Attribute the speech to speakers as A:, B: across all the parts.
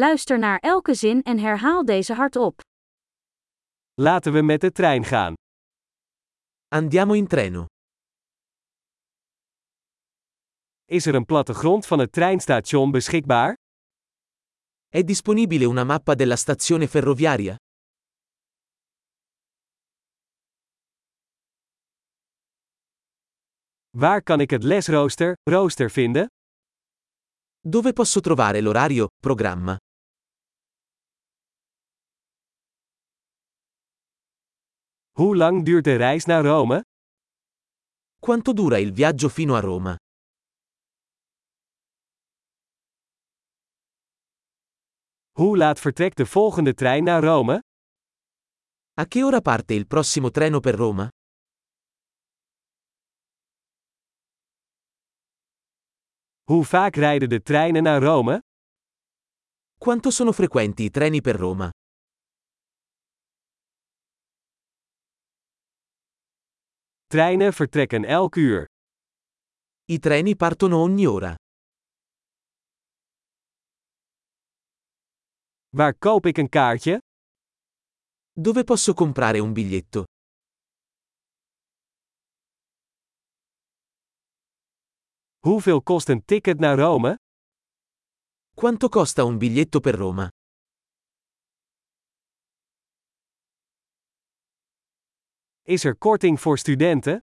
A: Luister naar elke zin en herhaal deze hardop.
B: Laten we met de trein gaan.
C: Andiamo in treno.
B: Is er een plattegrond van het treinstation beschikbaar?
C: È disponibile una mappa della stazione ferroviaria?
B: Waar kan ik het lesrooster, rooster vinden?
C: Dove posso trovare l'orario, programma?
B: Hoe lang duurt de reis naar Rome?
C: Quanto dura il viaggio fino a Roma?
B: Hoe laat vertrekt de volgende trein naar Rome?
C: A che ora parte il prossimo treno per Roma?
B: Hoe vaak rijden de treinen naar Rome?
C: Quanto sono frequenti i treni per Roma?
B: Treinen vertrekken elk uur.
C: I treni partono ogni ora.
B: Waar koop ik een kaartje?
C: Dove posso comprare un biglietto?
B: Hoeveel kost een ticket naar Rome?
C: Quanto costa un biglietto per Roma?
B: Is er korting voor studenten?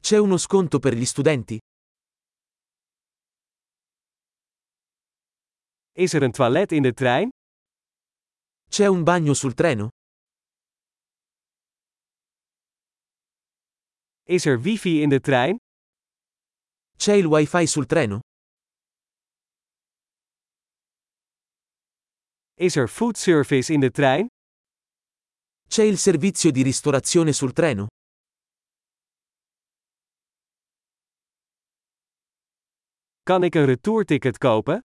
C: C'è uno sconto per gli studenti?
B: Is er een toilet in de trein?
C: C'è un bagno sul treno?
B: Is er wifi in de trein?
C: C'è il wifi sul treno?
B: Is er foodservice in de trein?
C: C'è il servizio di ristorazione sul treno?
B: Kan ik een retourticket kopen?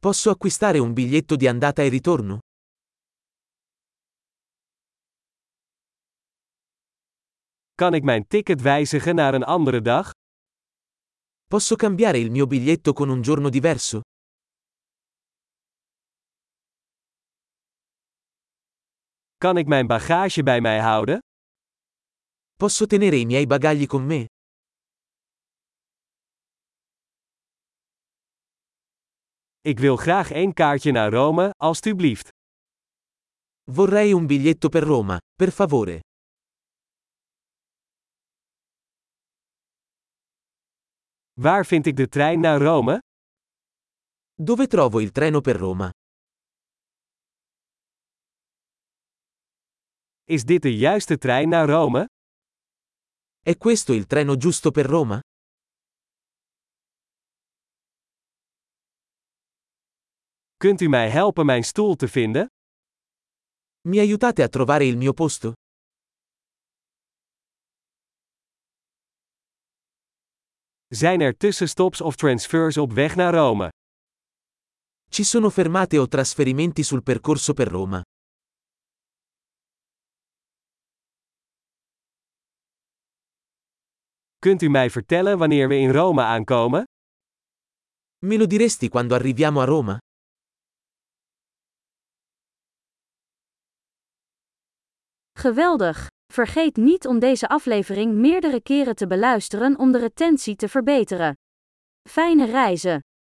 C: Posso acquistare un biglietto di andata e ritorno?
B: Kan ik mijn ticket wijzigen naar een andere dag?
C: Posso cambiare il mio biglietto con un giorno diverso?
B: Kan ik mijn bagage bij mij houden?
C: Posso tenere i miei bagagli con me?
B: Ik wil graag één kaartje naar Rome, alstublieft.
C: Vorrei un biglietto per Roma, per favore.
B: Waar vind ik de trein naar Rome?
C: Dove trovo il treno per Roma?
B: Is dit de juiste trein naar Rome?
C: È questo il treno giusto per Roma?
B: Kunt u mij helpen mijn stoel te vinden?
C: Mi aiutate a trovare il mio posto?
B: Zijn er tussenstops of transfers op weg naar Rome?
C: Ci sono fermate o trasferimenti sul percorso per Roma?
B: Kunt u mij vertellen wanneer we in Rome aankomen?
C: Me lo diresti quando arriviamo a Roma?
A: Geweldig! Vergeet niet om deze aflevering meerdere keren te beluisteren om de retentie te verbeteren. Fijne reizen!